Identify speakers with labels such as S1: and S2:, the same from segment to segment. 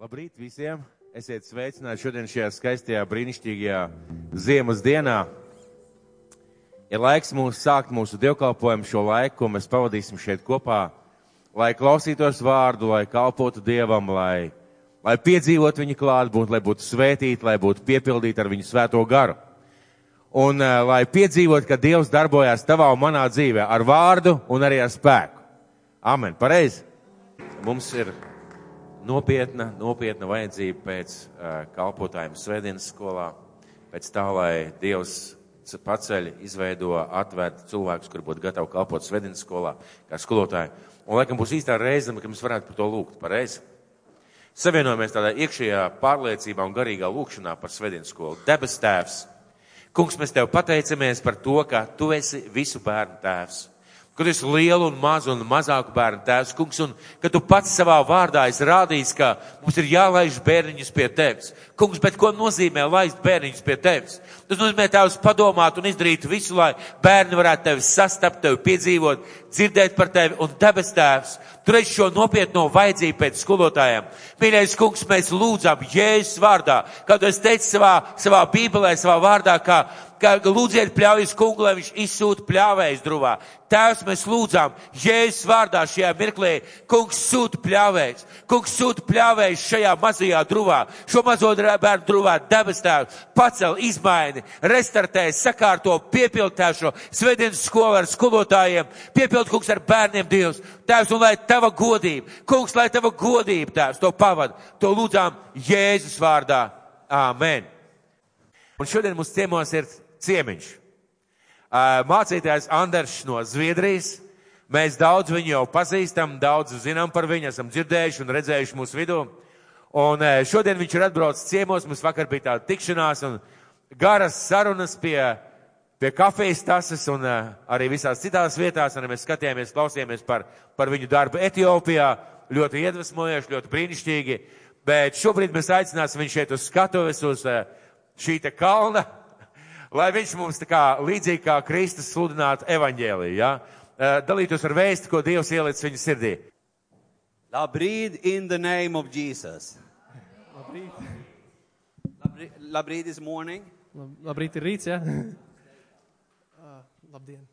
S1: Labrīt visiem! Esiet sveicināti šodien šajā skaistajā, brīnišķīgajā ziemas dienā. Ir laiks mums sākt mūsu dievkalpojumu šo laiku, ko mēs pavadīsim šeit kopā, lai klausītos vārdu, lai kalpotu Dievam, lai, lai piedzīvot viņa klātbūtni, lai būtu svētīti, lai būtu piepildīti ar viņu svēto garu. Un eh, lai piedzīvot, ka Dievs darbojās tavā un manā dzīvē ar vārdu un arī ar spēku. Amen. Pareizi. Mums ir nopietna, nopietna vajadzība pēc uh, kalpotājiem svētdienas skolā, pēc tā, lai Dievs c- paceļ, izveido, atver cilvēkus, kur būtu gatavi kalpot svētdienas skolā, kā skolotāji. Un laikam būs īstā reize, kad mēs varētu par to lūgt. Pareizi. Savienojamies tādā iekšējā pārliecībā un garīgā lūkšanā par svētdienas skolu. Debes tēvs! Kungs, mēs tev pateicamies par to, ka tu esi visu bērnu tēvs. Ka tu esi lielu un mazu un mazāku bērnu tēvs, kungs, un ka tu pats savā vārdā esi rādījis, ka mums ir jālaiž bērniņus pie tevis. Kungs, bet ko nozīmē laist bērniņus pie tevis? Tas nozīmē tēvs padomāt un izdarīt visu, lai bērni varētu tevi sastapt, tevi piedzīvot, dzirdēt par tevi un debes tēvs. Tur es šo nopietno vajadzību pēc skolotājiem. Mīļais kungs, mēs lūdzam Jēzus vārdā, kā tu esi teicis savā, savā bībelē, savā vārdā, ka, ka lūdziet pļaujas kungu, lai viņš izsūta pļāvējas druvā. Tēvs, mēs lūdzam Jēzus vārdā šajā mirklī, kungs sūta pļāvējas, kungs sūta pļāvējas šajā mazajā druvā, šo mazo dra- bērnu druvā debes tēvs, pacel, izmaini, restartē, sakārto, piepildēšo, svedienas skolu ar skolotājiem, piepild kungs ar bērniem Dievs. Tēvs, un lai tava godība, kungs, lai tava godība, tēvs, to pavada, to lūdzām Jēzus vārdā. Āmen. Un šodien mums ciemos ir ciemiņš. Ā, Mācītājs Andrēs no Zviedrijas. Mēs daudz viņu jau pazīstam, daudz zinām par viņu, esam dzirdējuši un redzējuši mūsu vidū. Un ē, šodien viņš ir atbraucis ciemos, mums vakar bija tāda tikšanās un garas sarunas pie, pie kafijas tases un ē, arī visās citās vietās. Arī mēs skatījāmies, klausījāmies par, par viņu darbu Etiopijā. Ļoti iedvesmojoši, ļoti brīnišķīgi. Bet šobrīd mēs aicināsim viņu šeit uz skatuves, uz ē, šī te kalna lai viņš mums tā kā līdzīgi kā Kristus sludinātu evaņģēliju, ja? Eh, dalītos ar vēstu, ko Dievs ielicis viņa sirdī.
S2: Labrid in the name of Jesus. Labrid. Labrid is morning.
S3: Lab, labrīt, ir rīts, jā. uh, labdien,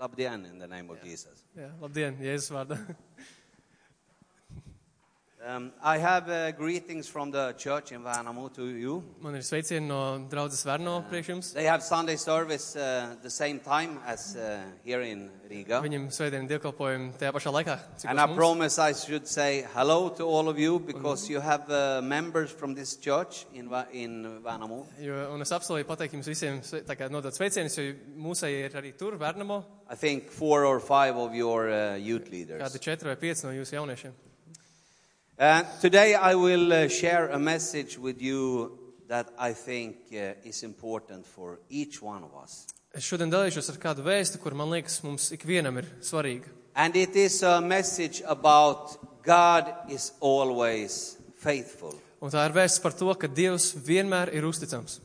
S2: Labdian in the name of Jesus.
S3: jā, labdien, Jēzus vārdā.
S2: Um, I have uh, greetings from the church in Värnamo to you.
S3: Man ir sveicieni no draudzes Verno priekš jums.
S2: They have Sunday service uh, the same time as uh, here in Riga.
S3: Viņam svētdienu dievkalpojumu tajā pašā laikā. cik
S2: And
S3: uz
S2: I
S3: mums.
S2: promise I should say hello to all of you because you have uh, members from this church in, Va- in Värnamo.
S3: Jo, un es apsolīju pateikt jums visiem, sve- tā kā nodot sveicienus, jo mūsēji ir arī tur, Vernamo,
S2: I think four or five of your uh, youth leaders.
S3: kādi četri vai pieci no jūsu jauniešiem.
S2: Uh, today I will uh, share a message with you that I think uh, is important for each one of us.
S3: Es šodien dalīšos ar kādu vēstu, kur man liekas, mums ikvienam ir svarīga.
S2: And it is a message about God is always faithful.
S3: Un tā ir vēsts par to, ka Dievs vienmēr ir uzticams.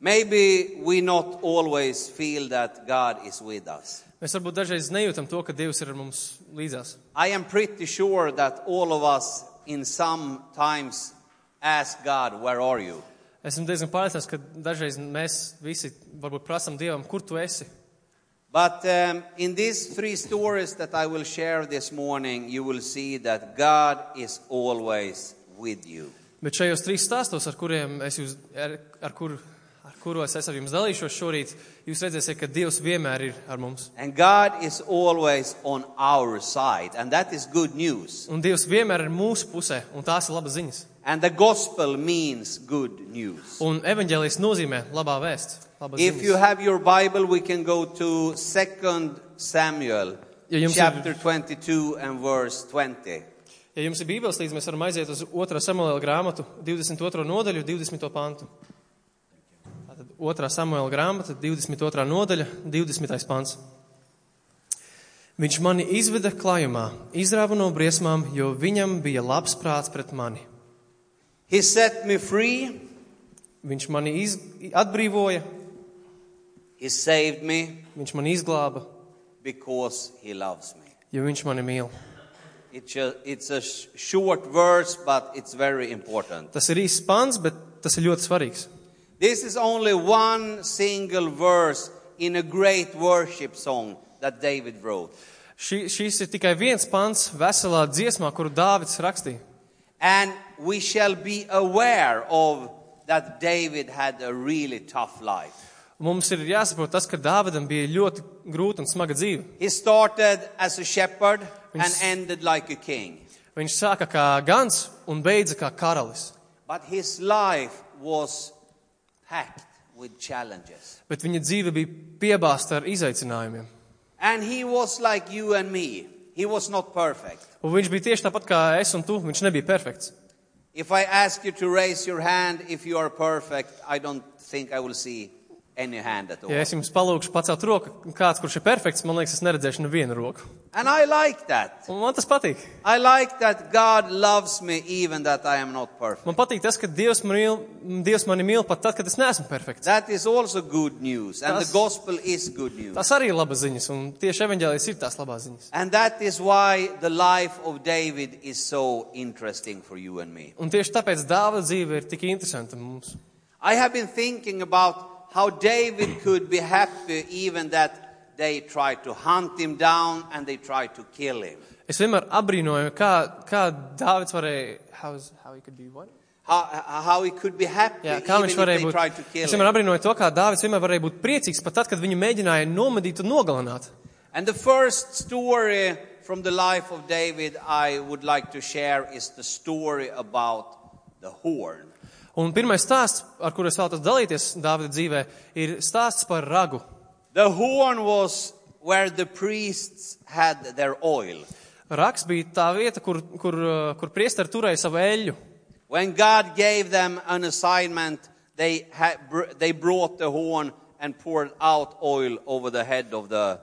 S2: Maybe we not always feel that God is with us.
S3: Mēs varbūt dažreiz nejūtam to, ka Dievs ir ar mums līdzās.
S2: I am pretty sure that all of us in some times ask God, where are you?
S3: Esmu diezgan pārliecināts, ka dažreiz mēs visi varbūt prasām Dievam, kur tu esi.
S2: But um, in these three stories that I will share this morning, you will see that God is always with you.
S3: Bet šajos trīs stāstos, ar kuriem es jūs, ar, ar, kur, ar kuros es ar jums dalīšos šorīt, jūs redzēsiet, ka Dievs vienmēr ir ar mums.
S2: And God is always on our side, and that is good news.
S3: Un Dievs vienmēr ir mūsu pusē, un tās ir labas ziņas.
S2: And the gospel means good news.
S3: Un evaņģēlijas nozīmē labā vēsts. labas
S2: If you
S3: ziņas.
S2: have your Bible, we can go to 2 Samuel
S3: Ja jums ir-
S2: chapter 22 and verse 20.
S3: Ja jums ir bībeles līdz, mēs varam aiziet uz 2. samuēla grāmatu, 22. nodaļu, 20. pantu. Tātad 2. samuēla grāmata, 22. nodaļa, 20. pants. Viņš mani izveda klājumā, izrāva no briesmām, jo viņam bija labs prāts pret mani.
S2: He set me free,
S3: Viņš mani iz... atbrīvoja,
S2: he saved me
S3: viņš mani izglāba,
S2: because he loves me.
S3: jo viņš mani mīl.
S2: It's a, it's a sh- short verse, but it's very important.
S3: Tas ir īsts pants, bet tas ir ļoti svarīgs.
S2: This is only one single verse in a great worship song that David wrote.
S3: Šī, šis ir tikai viens pants veselā dziesmā, kuru Dāvids rakstīja.
S2: And we shall be aware of that David had a really tough life.
S3: Mums ir jāsaprot tas, ka Dāvidam bija ļoti grūta un smaga dzīve.
S2: He started as a shepherd and
S3: Yes.
S2: ended like a king.
S3: Viņš sāka kā gans un beidza kā karalis.
S2: But his life was packed with challenges.
S3: Bet viņa dzīve bija piebāzta ar izaicinājumiem.
S2: And he was like you and me. He was not perfect.
S3: Un viņš bija tieši tāpat kā es un tu. Viņš nebija perfekts.
S2: If I ask you to raise your hand if you are perfect, I don't think I will see any hand at all.
S3: Ja es jums palūgšu pacelt roku, kāds kurš ir perfekts, man liekas, es neredzēšu nevienu roku.
S2: And I like that.
S3: Un man tas patīk.
S2: I like that God loves me even that I am not perfect.
S3: Man patīk tas, ka Dievs mani, mīl, Dievs mani mīl pat tad, kad es neesmu perfekts.
S2: That is also good news. And
S3: Tas-
S2: the gospel is good news.
S3: Tas arī ir labas ziņas, un tieši evaņģēlijas ir tās labās ziņas.
S2: And that is why the life of David is so interesting for you and me.
S3: Un tieši tāpēc dāva dzīve ir tik interesanta mums.
S2: I have been thinking about how David could be happy even that they tried to hunt him down and they tried to kill him.
S3: Es vienmēr abrīnoju, kā, kā Dāvids varēja. How is, how he could be what?
S2: How, how he could be happy
S3: Jā, kā
S2: even
S3: viņš
S2: if
S3: varēja
S2: they tried
S3: būt?
S2: to kill
S3: Es
S2: him.
S3: vienmēr abrīnoju to, kā Dāvids vienmēr varēja būt priecīgs pat tad, kad viņu mēģināja nomedīt un nogalināt.
S2: And the first story from the life of David I would like to share is the story about the horn.
S3: Un pirmais stāsts, ar kuru es vēlos dalīties Dāvida dzīvē, ir stāsts par ragu.
S2: The horn was where the priests had their oil.
S3: Raks bija tā vieta, kur, kur, uh, kur priesteri turēja savu eļļu.
S2: When God gave them an assignment, they, ha- br- they brought the horn and poured out oil over the head of the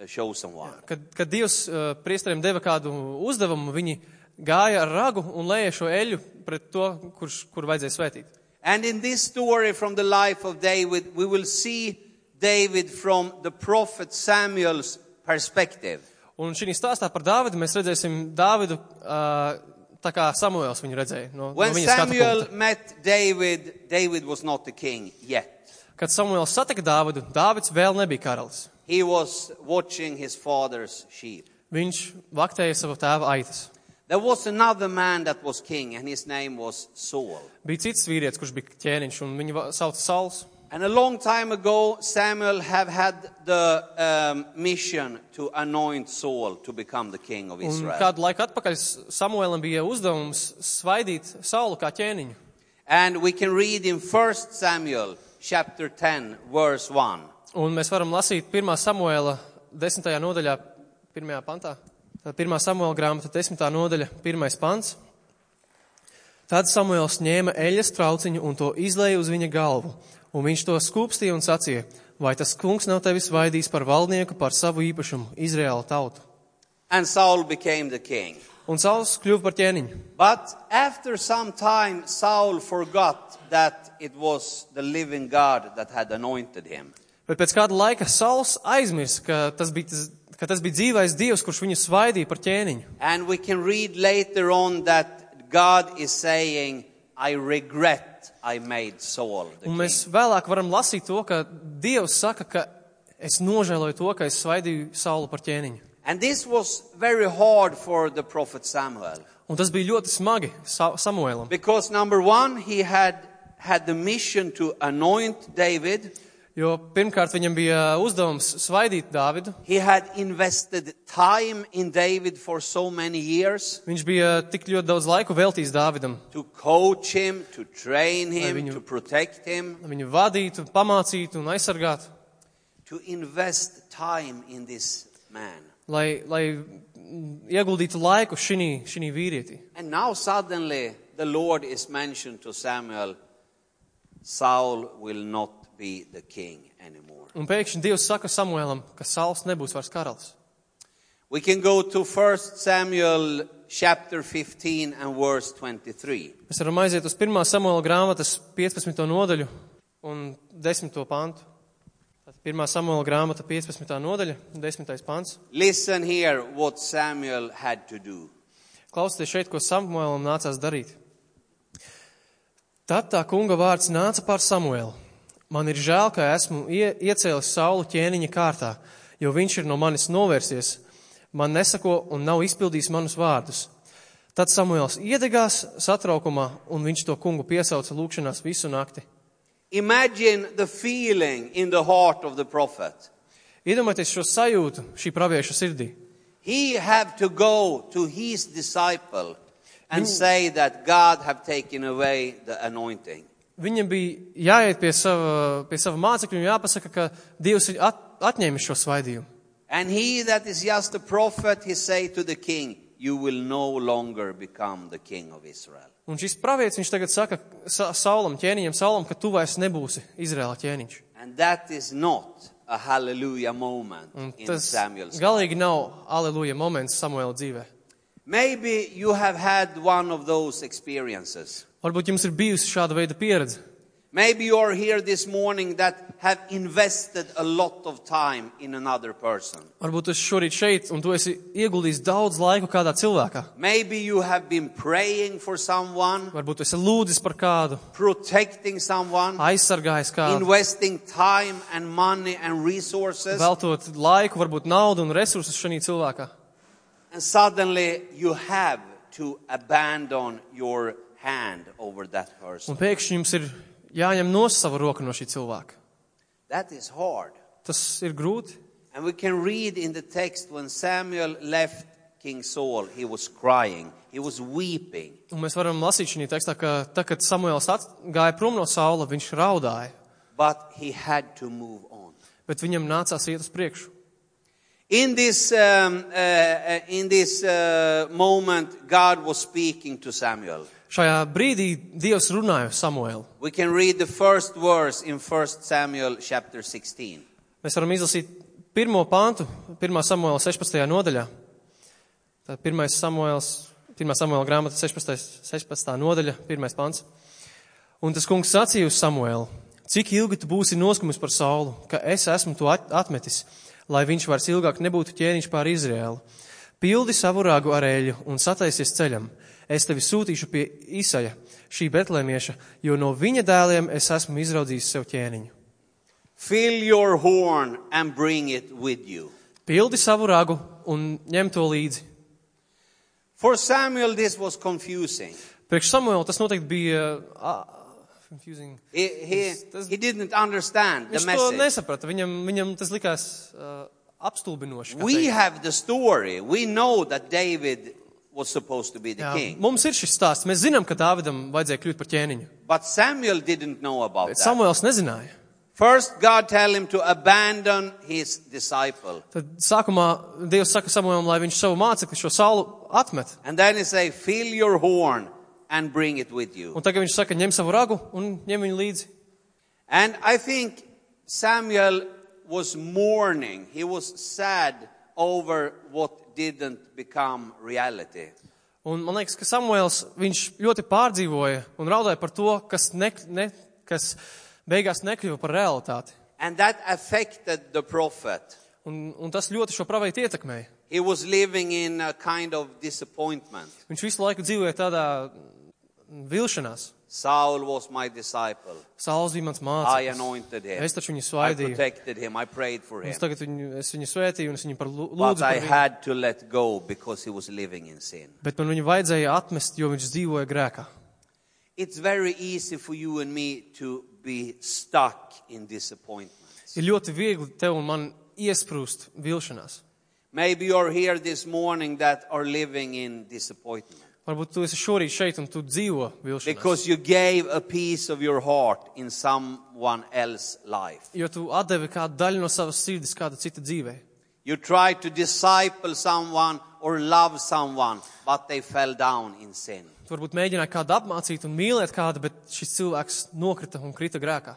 S2: uh, chosen one.
S3: Kad, kad Dievs uh, priesteriem deva kādu uzdevumu, viņi gāja ar ragu un lēja šo eļļu pret to, kurš, kur vajadzēja svētīt.
S2: And in this story from the life of David, we will see David from the prophet Samuel's perspective.
S3: Un šī stāstā par Dāvidu mēs redzēsim Dāvidu uh, tā kā Samuēls viņu redzēja. No, no
S2: When
S3: viņa skatu
S2: Samuel
S3: punkta.
S2: met David, David was not the king yet.
S3: Kad Samuēls satika Dāvidu, Dāvids vēl nebija karalis.
S2: He was watching his father's sheep.
S3: Viņš vaktēja savu tēva aitas.
S2: There was another man that was king, and his name was Saul.
S3: Bija cits vīrietis, kurš bija ķēniņš, un viņu va- sauca Sauls.
S2: And a long time ago, Samuel have had the um, mission to anoint Saul to become the king of
S3: Un
S2: Israel.
S3: kādu laiku atpakaļ Samuēlam bija uzdevums svaidīt Saulu kā ķēniņu.
S2: And we can read in 1 Samuel chapter 10, verse 1.
S3: Un mēs varam lasīt 1. Samuēla 10. nodaļā, 1. pantā. Tad 1. Samuēla grāmata, 10. nodaļa, 1. pants. Tad Samuēls ņēma eļas trauciņu un to izlēja uz viņa galvu, un viņš to skūpstīja un sacīja, vai tas kungs nav tevis vaidījis par valdnieku, par savu īpašumu, Izraēla tautu.
S2: And Saul became the king.
S3: Un Sauls kļuva par ķēniņu.
S2: But after some time, Saul forgot that it was the living God that had anointed him.
S3: Bet pēc kāda laika Sauls aizmirsa, ka tas bija, tas, ka tas bija dzīvais dievs, kurš viņu svaidīja par ķēniņu.
S2: And we can read later on that God is saying, I regret I made Saul the
S3: Un
S2: king.
S3: mēs vēlāk varam lasīt to, ka dievs saka, ka es nožēloju to, ka es svaidīju Saulu par ķēniņu.
S2: And this was very hard for the prophet Samuel.
S3: Un tas bija ļoti smagi Sa Samuēlam.
S2: Because number one, he had had the mission to anoint David.
S3: Jo pirmkārt viņam bija uh, uzdevums svaidīt Dāvidu.
S2: He had invested time in David for so many years
S3: Viņš bija uh, tik ļoti daudz laiku veltījis Dāvidam,
S2: to coach him, to train him,
S3: Lavinio.
S2: to protect him.
S3: lai viņu vadītu, pamācītu un aizsargātu,
S2: to invest time in this man.
S3: lai, lai mm, ieguldītu laiku šī vīrietī.
S2: And now suddenly the Lord is mentioned to Samuel Saul will not be the king anymore.
S3: Un pēkšņi Dievs saka Samuēlam, ka Sauls nebūs vairs karalis.
S2: We can go to 1 Samuel chapter 15 and verse 23.
S3: Mēs varam aiziet uz 1. samuēla grāmatas 15. nodaļu un 10. pantu. Tātad 1. samuēla grāmata 15. nodaļa, 10. pants.
S2: Listen here what Samuel had to do.
S3: Klausieties šeit, ko Samuēlam nācās darīt. Tad tā kunga vārds nāca pār Samuēlu. Man ir žēl, ka esmu ie, iecēlis sauli ķēniņa kārtā, jo viņš ir no manis novērsies, man nesako un nav izpildījis manus vārdus. Tad Samuēls iedegās satraukumā, un viņš to kungu piesauca lūkšanās visu nakti.
S2: Imagine the feeling in the heart of the prophet.
S3: Iedomājieties šo sajūtu šī pravieša sirdī.
S2: He had to go to his disciple and say that God have taken away the anointing.
S3: Viņam bija jāiet pie sava, pie sava mācekļa un jāpasaka, ka Dievs ir at, atņēmis šo svaidījumu.
S2: And he that is just a prophet, he say to the king, you will no longer become the king of Israel.
S3: Un šis pravietis, viņš tagad saka sa Saulam, ķēniņam, Saulam, ka tu vairs nebūsi Izrēla ķēniņš.
S2: And that is not a hallelujah moment
S3: Un
S2: in
S3: tas
S2: Samuel's.
S3: galīgi nav aleluja moments Samuela dzīvē.
S2: Maybe you have had one of those experiences.
S3: Varbūt jums ir bijusi šāda veida pieredze.
S2: Maybe you are here this morning that have invested a lot of time in another person.
S3: Varbūt tu esi šorīt šeit un tu esi ieguldījis daudz laika kādā cilvēkā.
S2: Maybe you have been praying for someone,
S3: Varbūt tu esi lūdzis par kādu,
S2: protecting someone,
S3: aizsargājis kādu,
S2: investing time and money and resources,
S3: veltot laiku, varbūt naudu un resursus šajā cilvēkā.
S2: and suddenly you have to abandon your hand over that person.
S3: Un pēkšņi jums ir jāņem nos sava roka no šī cilvēka.
S2: That is hard.
S3: Tas ir grūti.
S2: And we can read in the text when Samuel left King Saul, he was crying, he was weeping.
S3: Un mēs varam lasīt šajā tekstā, ka tā, kad Samuēls at- gāja prom no saula, viņš raudāja,
S2: but he had to move on.
S3: bet viņam nācās iet uz priekšu.
S2: In this, um, uh, uh, in this uh, moment, God was speaking to Samuel.
S3: Šajā brīdī Dievs runāja uz Samuēlu.
S2: We can read the first verse in 1 Samuel chapter 16.
S3: Mēs varam izlasīt pirmo pāntu, 1. Samuēla 16. nodaļā. Tā 1. Samuēls, 1. Samuēla grāmata 16. 16. nodaļa, 1. pāns. Un tas kungs sacīja uz Samuēlu, cik ilgi tu būsi noskumis par saulu, ka es esmu to at- atmetis, lai viņš vairs ilgāk nebūtu ķēniņš pār Izrēlu. Pildi savu rāgu ar eļu un sataisies ceļam. Es tevi sūtīšu pie Isaja, šī betlēmieša, jo no viņa dēliem es esmu izraudzījis sev ķēniņu.
S2: Fill your horn and bring it with you.
S3: Pildi savu ragu un ņem to līdzi.
S2: For Samuel, this was confusing.
S3: Priekš Samuela tas noteikti bija. Uh, confusing.
S2: He, he,
S3: Tas-
S2: he didn't understand the
S3: Viņš to
S2: message.
S3: nesaprata. Viņam, viņam tas likās uh, apstulbinoši. kā
S2: We
S3: teikt.
S2: have the story. We know that David was supposed to be the
S3: Jā,
S2: king.
S3: mums ir šis stāsts. Mēs zinām, ka Dāvidam vajadzēja kļūt par ķēniņu.
S2: But Samuel didn't know about
S3: Bet
S2: that.
S3: Samuels nezināja.
S2: First, God tell him to abandon his disciple.
S3: Tad sākumā Dievs saka Samuēlam, lai viņš savu mācekli šo salu atmet.
S2: And then he say, fill your horn and bring it with you.
S3: Un tagad viņš saka, ņem savu ragu un ņem viņu līdzi.
S2: And I think Samuel was mourning. He was sad over what didn't become reality.
S3: Un man liekas, ka Samuēls viņš ļoti pārdzīvoja un raudāja par to, kas, ne, ne, kas beigās nekļuva par realitāti.
S2: And that affected the prophet.
S3: Un, un tas ļoti šo pravietu ietekmēja.
S2: He was living in a kind of disappointment.
S3: Viņš visu laiku dzīvoja tādā vilšanās.
S2: Saul was my disciple.
S3: Sauls bija mans
S2: I
S3: mācītājs.
S2: anointed him.
S3: Es taču
S2: I
S3: viņu svaidīju.
S2: protected him. I prayed for him.
S3: Es tagad viņu, es viņu svētīju un es viņu par lū-
S2: But
S3: lūdzu.
S2: I
S3: Par viņu.
S2: had to let go because he was living in sin.
S3: Bet man viņu vajadzēja atmest, jo viņš dzīvoja grēkā.
S2: It's very easy for you and me to be stuck in disappointments.
S3: Ir ļoti viegli tev un man iesprūst vilšanās.
S2: Maybe you're here this morning that are living in disappointment
S3: Varbūt tu esi šorīt šeit un tu dzīvo vilšanās.
S2: because you gave a piece of your heart in someone else's life.
S3: Jo tu atdevi kādu daļu no savas sirds kāda cita dzīvē.
S2: You tried to disciple someone or love someone, but they fell down in sin.
S3: Tu varbūt mēģināji kādu apmācīt un mīlēt kādu, bet šis cilvēks nokrita un krita grēkā.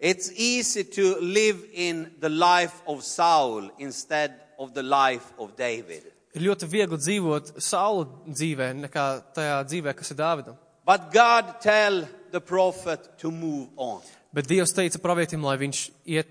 S2: It's easy to live in the life of Saul instead of the life of David.
S3: Ir ļoti viegli dzīvot saulu dzīvē, nekā tajā dzīvē, kas ir Dāvidam.
S2: But God tell the prophet to move on.
S3: Bet Dievs teica pravietim, lai viņš, iet,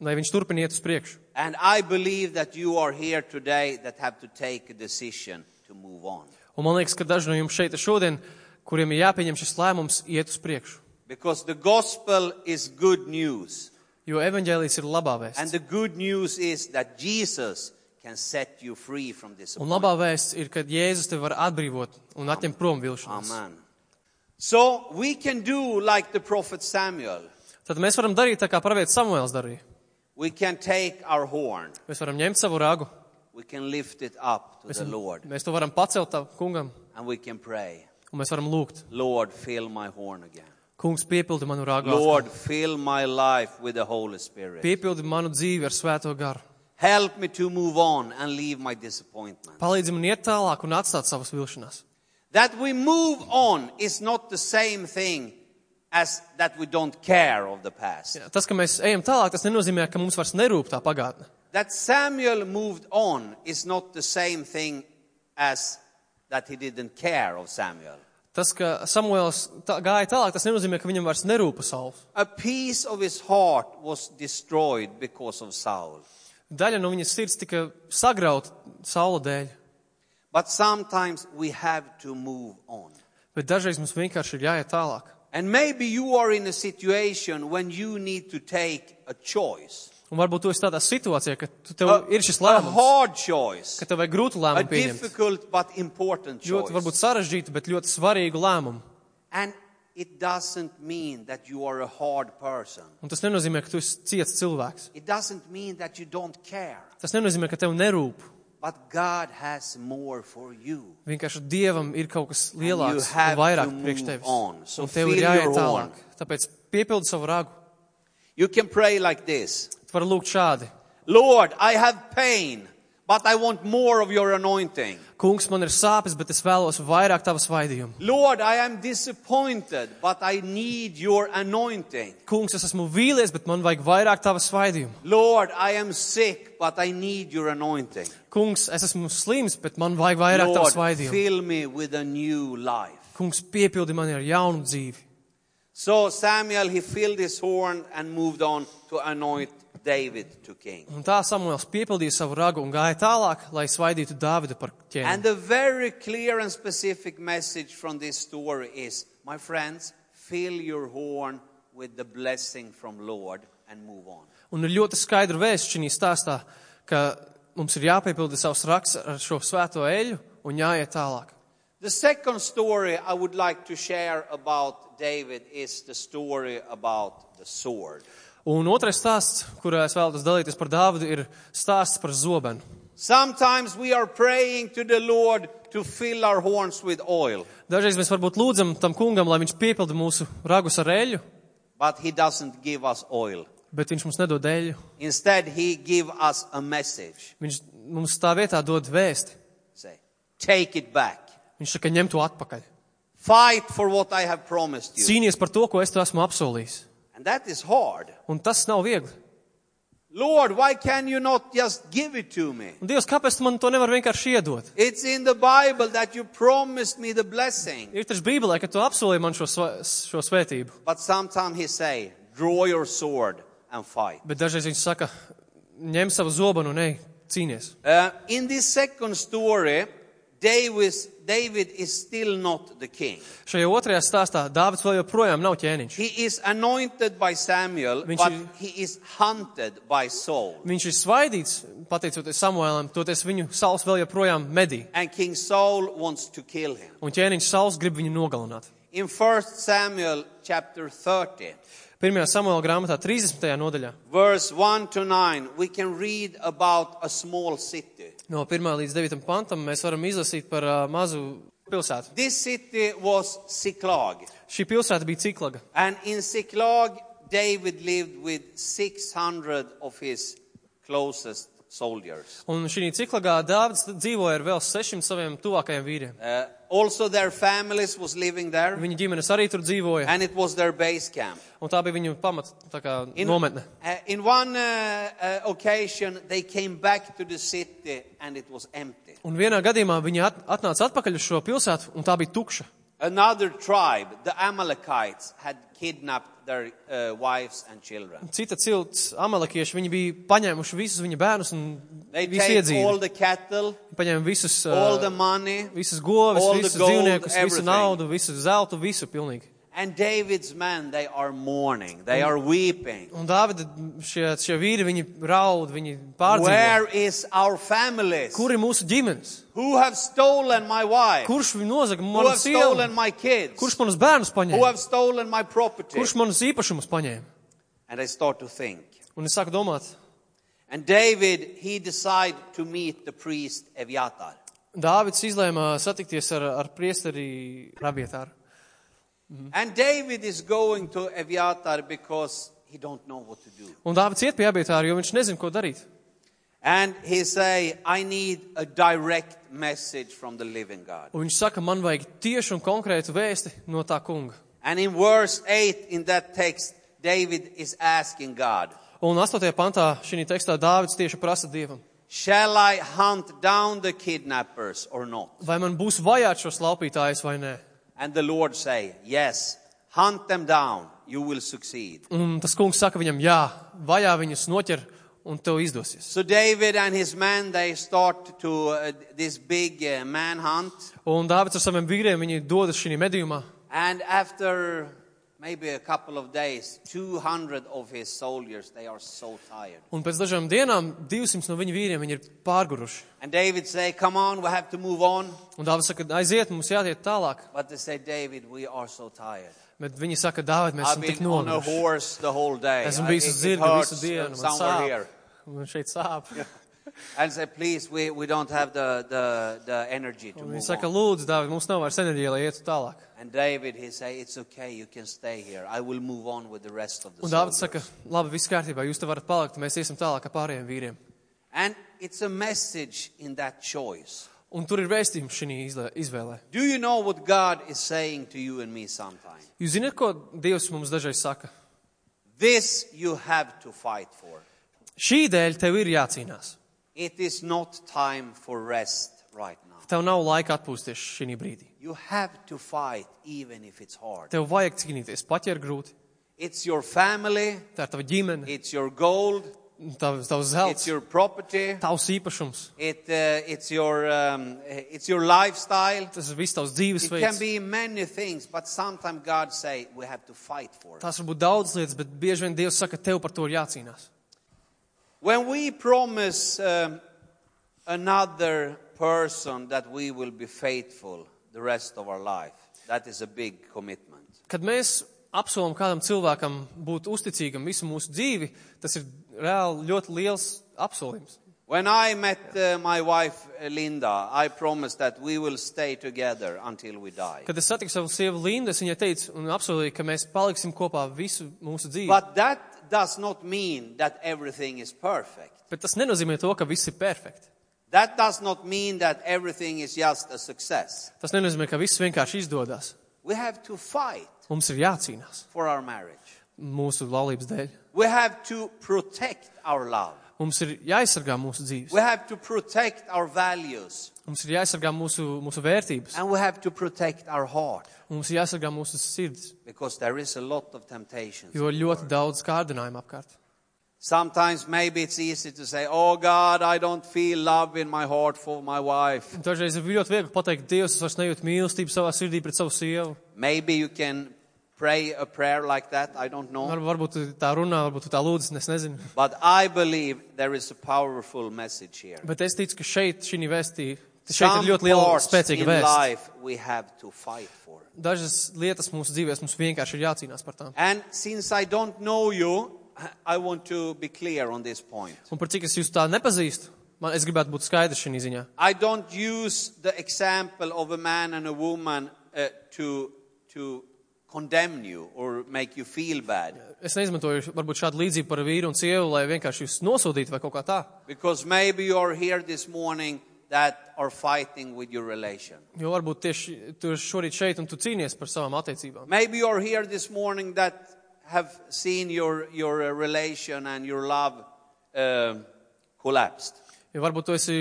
S3: lai viņš turpina iet uz priekšu.
S2: And I believe that you are here today that have to take a decision to move on.
S3: Un man liekas, ka daži no jums šeit ir šodien, kuriem ir jāpieņem šis lēmums, iet uz priekšu.
S2: Because the gospel is good news.
S3: Jo evaņģēlijas ir labā
S2: And
S3: vēsts.
S2: the good news is that Jesus can set you free from this.
S3: Un labā vēsts ir, ka Jēzus tevi var atbrīvot un atņemt prom vilšanos.
S2: Amen. So we can do like the prophet Samuel.
S3: Tad mēs varam darīt tā, kā pravietis Samuēls darīja.
S2: We can take our horn.
S3: Mēs varam ņemt savu ragu,
S2: We can lift it up to the Lord
S3: mēs to varam pacelt tam kungam,
S2: and we can pray.
S3: un mēs varam lūgt.
S2: Lord, fill my horn again.
S3: Kungs, piepildi manu ragu, atkal.
S2: Lord, fill my life with the Holy Spirit.
S3: piepildi manu dzīvi ar svēto garu.
S2: Help me to move on and leave my disappointment.
S3: Palīdzi man iet tālāk un atstāt savas vilšanās.
S2: That we move on is not the same thing as that we don't care of the past.
S3: Jā, Tas, ka mēs ejam tālāk, tas nenozīmē, ka mums vairs nerūp tā pagātne.
S2: That Samuel moved on is not the same thing as that he didn't care of Samuel.
S3: Tas, ka Samuēls tā, gāja tālāk, tas nenozīmē, ka viņam vairs nerūp Sauls.
S2: A piece of his heart was destroyed because of Saul.
S3: Daļa no viņa sirds tika sagrauta Saula dēļ,
S2: But sometimes we have to move on.
S3: bet dažreiz mums vienkārši ir jāiet tālāk.
S2: And maybe you are in a situation when you need to take a choice.
S3: Un varbūt tu esi tādā situācijā, ka tu, tev
S2: A,
S3: ir šis
S2: a
S3: lēmums,
S2: hard choice.
S3: ka tev vajag grūtu
S2: A
S3: lēmumu pieņemt.
S2: difficult but important
S3: Ļoti, varbūt
S2: choice.
S3: sarežģītu, bet ļoti svarīgu lēmumu.
S2: And it doesn't mean that you are a hard person.
S3: Un tas nenozīmē, ka tu esi ciets cilvēks.
S2: It doesn't mean that you don't care.
S3: Tas nenozīmē, ka tev nerūp.
S2: But God has more for you.
S3: Vienkārši Dievam ir kaut kas
S2: you
S3: lielāks
S2: have
S3: un vairāk
S2: to move
S3: priekš tevis.
S2: on. So
S3: un tev
S2: fill
S3: ir jāiet
S2: your
S3: tālāk.
S2: horn.
S3: Tāpēc piepildi savu ragu.
S2: You can pray like this
S3: Tu vari lūgt šādi.
S2: Lord, I have pain, but I want more of your anointing.
S3: Kungs, man ir sāpes, bet es vēlos vairāk tavas vaidījumu.
S2: Lord, I am disappointed, but I need your anointing.
S3: Kungs, es esmu vīlies, bet man vajag vairāk tavas vaidījumu.
S2: Lord, I am sick, but I need your anointing.
S3: Kungs, es esmu slims, bet man vajag vairāk
S2: Lord,
S3: tavas vaidījumu.
S2: fill me with a new life.
S3: Kungs, piepildi mani ar jaunu dzīvi.
S2: So Samuel, he filled his horn and moved on to anoint David to king.
S3: Un tā Samuēls piepildīja savu ragu un gāja tālāk, lai svaidītu Dāvidu par ķēniņu.
S2: And the very clear and specific message from this story is, my friends, fill your horn with the blessing from Lord and move on.
S3: Un ir ļoti skaidra vēsts šī stāstā, ka mums ir jāpiepilda savs raksts ar šo svēto eļu un jāiet tālāk.
S2: The second story I would like to share about David is the story about the sword.
S3: Un otrais stāsts, kurā es vēlos dalīties par Dāvidu, ir stāsts par zobenu.
S2: Sometimes we are praying to the Lord to fill our horns with oil,
S3: Dažreiz mēs varbūt lūdzam tam kungam, lai viņš piepilda mūsu ragus ar eļu,
S2: but he doesn't give us oil.
S3: bet viņš mums nedod eļu.
S2: Instead, he give us a message.
S3: Viņš mums tā vietā dod vēsti.
S2: Say, take it back.
S3: Viņš saka, ņem to atpakaļ.
S2: Fight for what I have promised you.
S3: Cīnies par to, ko es tev esmu apsolījis.
S2: And that is hard.
S3: Un tas nav viegli.
S2: Lord, why can you not just give it to me?
S3: Un Dievs, kāpēc tu man to nevar vienkārši iedot?
S2: It's in the Bible that you promised me the blessing.
S3: Ir taču Bībelē, ka tu apsolīji man šo, sva- šo svētību.
S2: But sometimes he say, draw your sword and fight.
S3: Bet dažreiz viņš saka, ņem savu zobenu un ej, cīnies.
S2: Uh, in this second story, Davis, David is still not the king.
S3: Šajā otrajā stāstā Dāvids vēl joprojām nav ķēniņš.
S2: He is anointed by Samuel,
S3: Viņš
S2: but
S3: ir-
S2: he is hunted by Saul.
S3: Viņš ir svaidīts, pateicoties Samuēlam, toties viņu sals vēl joprojām medī.
S2: And King Saul wants to kill him.
S3: Un ķēniņš sals grib viņu nogalināt.
S2: In 1 Samuel chapter 30,
S3: 1. Samuēla grāmatā 30. nodaļā
S2: verse 1 to 9, we can read about a small city.
S3: no 1. līdz 9. pantam mēs varam izlasīt par uh, mazu pilsētu.
S2: This city was Siklag.
S3: Šī pilsēta bija ciklaga.
S2: And in Siklag, David lived with 600 of his closest soldiers.
S3: Un šī ciklagā Dāvids dzīvoja ar vēl sešiem saviem tuvākajiem vīriem.
S2: Uh, also, their families was living there,
S3: Viņa ģimenes arī tur dzīvoja,
S2: and it was their base camp.
S3: un tā bija viņu pamata tā kā
S2: In,
S3: nometne.
S2: uh, in one uh, uh, occasion, they came back to the city, and it was empty.
S3: Un vienā gadījumā viņi at, atnāca atpakaļ uz šo pilsētu, un tā bija tukša.
S2: Another tribe, the Amalekites, had kidnapped their uh, wives and children.
S3: Cita cilts, amalekieši, viņi bija paņēmuši visus viņa bērnus un
S2: They
S3: visu
S2: take all
S3: iedzīvi.
S2: the cattle,
S3: Viņi paņēma visus,
S2: all
S3: uh,
S2: the money,
S3: visus govis,
S2: all the
S3: visus
S2: gold,
S3: dzīvniekus, visu
S2: everything.
S3: naudu, visu zeltu, visu pilnīgi.
S2: and David's men, they are mourning, they are weeping.
S3: Un Dāvida šie, šie vīri, viņi raud, viņi pārdzīvo.
S2: Where is our families?
S3: Kur ir mūsu ģimenes?
S2: Who have stolen my wife?
S3: Kurš viņu nozaga
S2: Who
S3: manu
S2: have stolen
S3: sievu?
S2: my kids?
S3: Kurš manus bērnus
S2: Who
S3: paņēma?
S2: have stolen my property?
S3: Kurš manus īpašumus paņēma?
S2: And I start to think.
S3: Un es sāku domāt,
S2: And David, he decide to meet the priest Eviatar.
S3: Dāvids izlēma satikties ar, ar priesteri rabietāru.
S2: Mm-hmm. And David is going to Eviatar because he don't know what to do.
S3: Un Dāvids iet pie rabietāra, jo viņš nezina, ko darīt.
S2: And he say, I need a direct message from the living God.
S3: Un viņš saka, man vajag tiešu un konkrētu vēsti no tā kunga.
S2: And in verse 8 in that text, David is asking God,
S3: Un 8. pantā šī tekstā Dāvids tieši prasa Dievam,
S2: shall I hunt down the kidnappers or not?
S3: vai man būs vajāts šos laupītājus vai nē.
S2: And the Lord say, yes, hunt them down. You will succeed.
S3: Un tas kungs saka viņam, jā, vajā viņus noķer un tev izdosies.
S2: So David and his men, they start to uh, this big uh, manhunt.
S3: Un Dāvids ar saviem vīriem, viņi dodas šī medījumā.
S2: And after maybe a couple of days, 200 of his soldiers, they are so tired.
S3: Un pēc dažām dienām 200 no viņu vīriem viņi ir pārguruši.
S2: And David say, come on, we have to move on.
S3: Un Dāvids saka, aiziet, mums jāiet tālāk.
S2: But they say, David, we are so tired.
S3: Bet viņi saka, Dāvid, mēs
S2: I've
S3: esam tik
S2: been on a
S3: noguruši.
S2: horse the whole day.
S3: Esmu
S2: I-
S3: bijis
S2: it-
S3: uz
S2: it
S3: zirga visu
S2: hurts
S3: dienu, man
S2: uh, somewhere
S3: sāp.
S2: here.
S3: Man šeit sāp.
S2: And say, please, we, we don't have the, the, the energy to
S3: Un Viņi
S2: move
S3: saka,
S2: on.
S3: lūdzu, Dāvid, mums nav vairs enerģija, lai ietu tālāk.
S2: And David, he say, it's okay, you can stay here. I will move on with the rest of the
S3: Un Dāvids
S2: soldiers."
S3: saka, labi, viss kārtībā, jūs te varat palikt, mēs iesim tālāk ar pārējiem vīriem.
S2: And it's a message in that choice.
S3: Un tur ir vēstījums šī izvēlē.
S2: Do you know what God is saying to you and me sometimes?
S3: Jūs zināt, ko Dievs mums dažreiz saka?
S2: This you have to fight for.
S3: Šī dēļ tev ir jācīnās.
S2: It is not time for rest right now.
S3: Tev nav laika atpūsties šī brīdī.
S2: You have to fight even if it's hard.
S3: Tev vajag cīnīties, pat ja ir grūti.
S2: It's your family,
S3: Tā ir tava ģimene,
S2: it's your gold,
S3: tavs, tavs
S2: it's
S3: zelts,
S2: your property,
S3: tavs īpašums,
S2: it, uh, it's, your, um, it's your lifestyle.
S3: tas ir viss
S2: It
S3: tavs
S2: can
S3: dzīvesveids.
S2: be many things, but sometimes God say we have to fight for it.
S3: Tās var būt daudz lietas, bet bieži vien Dievs saka, tev par to ir jācīnās.
S2: When we promise um, another person that we will be faithful the rest of our life, that is a big commitment.
S3: Kad mēs apsolam kādam cilvēkam būt uzticīgam visu mūsu dzīvi, tas ir reāli ļoti liels apsolījums.
S2: When I met uh, my wife uh, Linda, I promised that we will stay together until we die.
S3: Kad es satiku savu sievu Lindu, es viņai teicu un apsolīju, ka mēs paliksim kopā visu mūsu dzīvi.
S2: But that does not mean that everything is perfect.
S3: Bet tas nenozīmē to, ka viss ir perfekts.
S2: That does not mean that everything is just a success.
S3: Tas nenozīmē, ka viss vienkārši izdodas.
S2: We have to fight
S3: Mums ir jācīnās
S2: for our marriage.
S3: mūsu laulības dēļ.
S2: We have to protect our love.
S3: Mums ir jāaizsargā mūsu dzīves,
S2: We have to protect our values.
S3: mums ir jāaizsargā mūsu, mūsu vērtības,
S2: And we have to protect our heart
S3: mums ir jāaizsargā mūsu sirds,
S2: because there is a lot of temptations.
S3: jo ir ļoti daudz kārdinājumu apkārt.
S2: Sometimes maybe it's easy to say, Oh God, I don't feel love in my heart for my wife.
S3: Dažreiz ir ļoti viegli pateikt, Dievs, es vairs nejūtu mīlestību savā sirdī pret savu sievu.
S2: Maybe you can pray a prayer like that. I don't
S3: Var,
S2: know.
S3: varbūt tu tā runā, varbūt tu tā lūdzu, es nezinu.
S2: But I believe there is a powerful message here.
S3: Bet es ticu, ka šeit šī vēstī, šeit
S2: Some
S3: ir ļoti liela,
S2: parts in
S3: spēcīga vēsts.
S2: life we have to fight for.
S3: Dažas lietas mūsu dzīvēs mums vienkārši ir jācīnās par tām.
S2: And since I don't know you, I want to be clear on this point.
S3: Un par cik es jūs tā nepazīstu, man es gribētu būt skaidrs šī ziņā.
S2: I don't use the example of a man and a woman uh, to, to condemn you or make you feel bad.
S3: Es neizmantoju varbūt šādu līdzību par vīru un sievu, lai vienkārši jūs nosodītu vai kaut kā tā.
S2: Because maybe you are here this morning that are fighting with your relation.
S3: Jo varbūt tieši tu esi šorīt šeit un tu cīnies par savām attiecībām.
S2: Maybe you are here this morning that have seen your, your uh, relation and your love um collapsed.
S3: Jo varbūt tu esi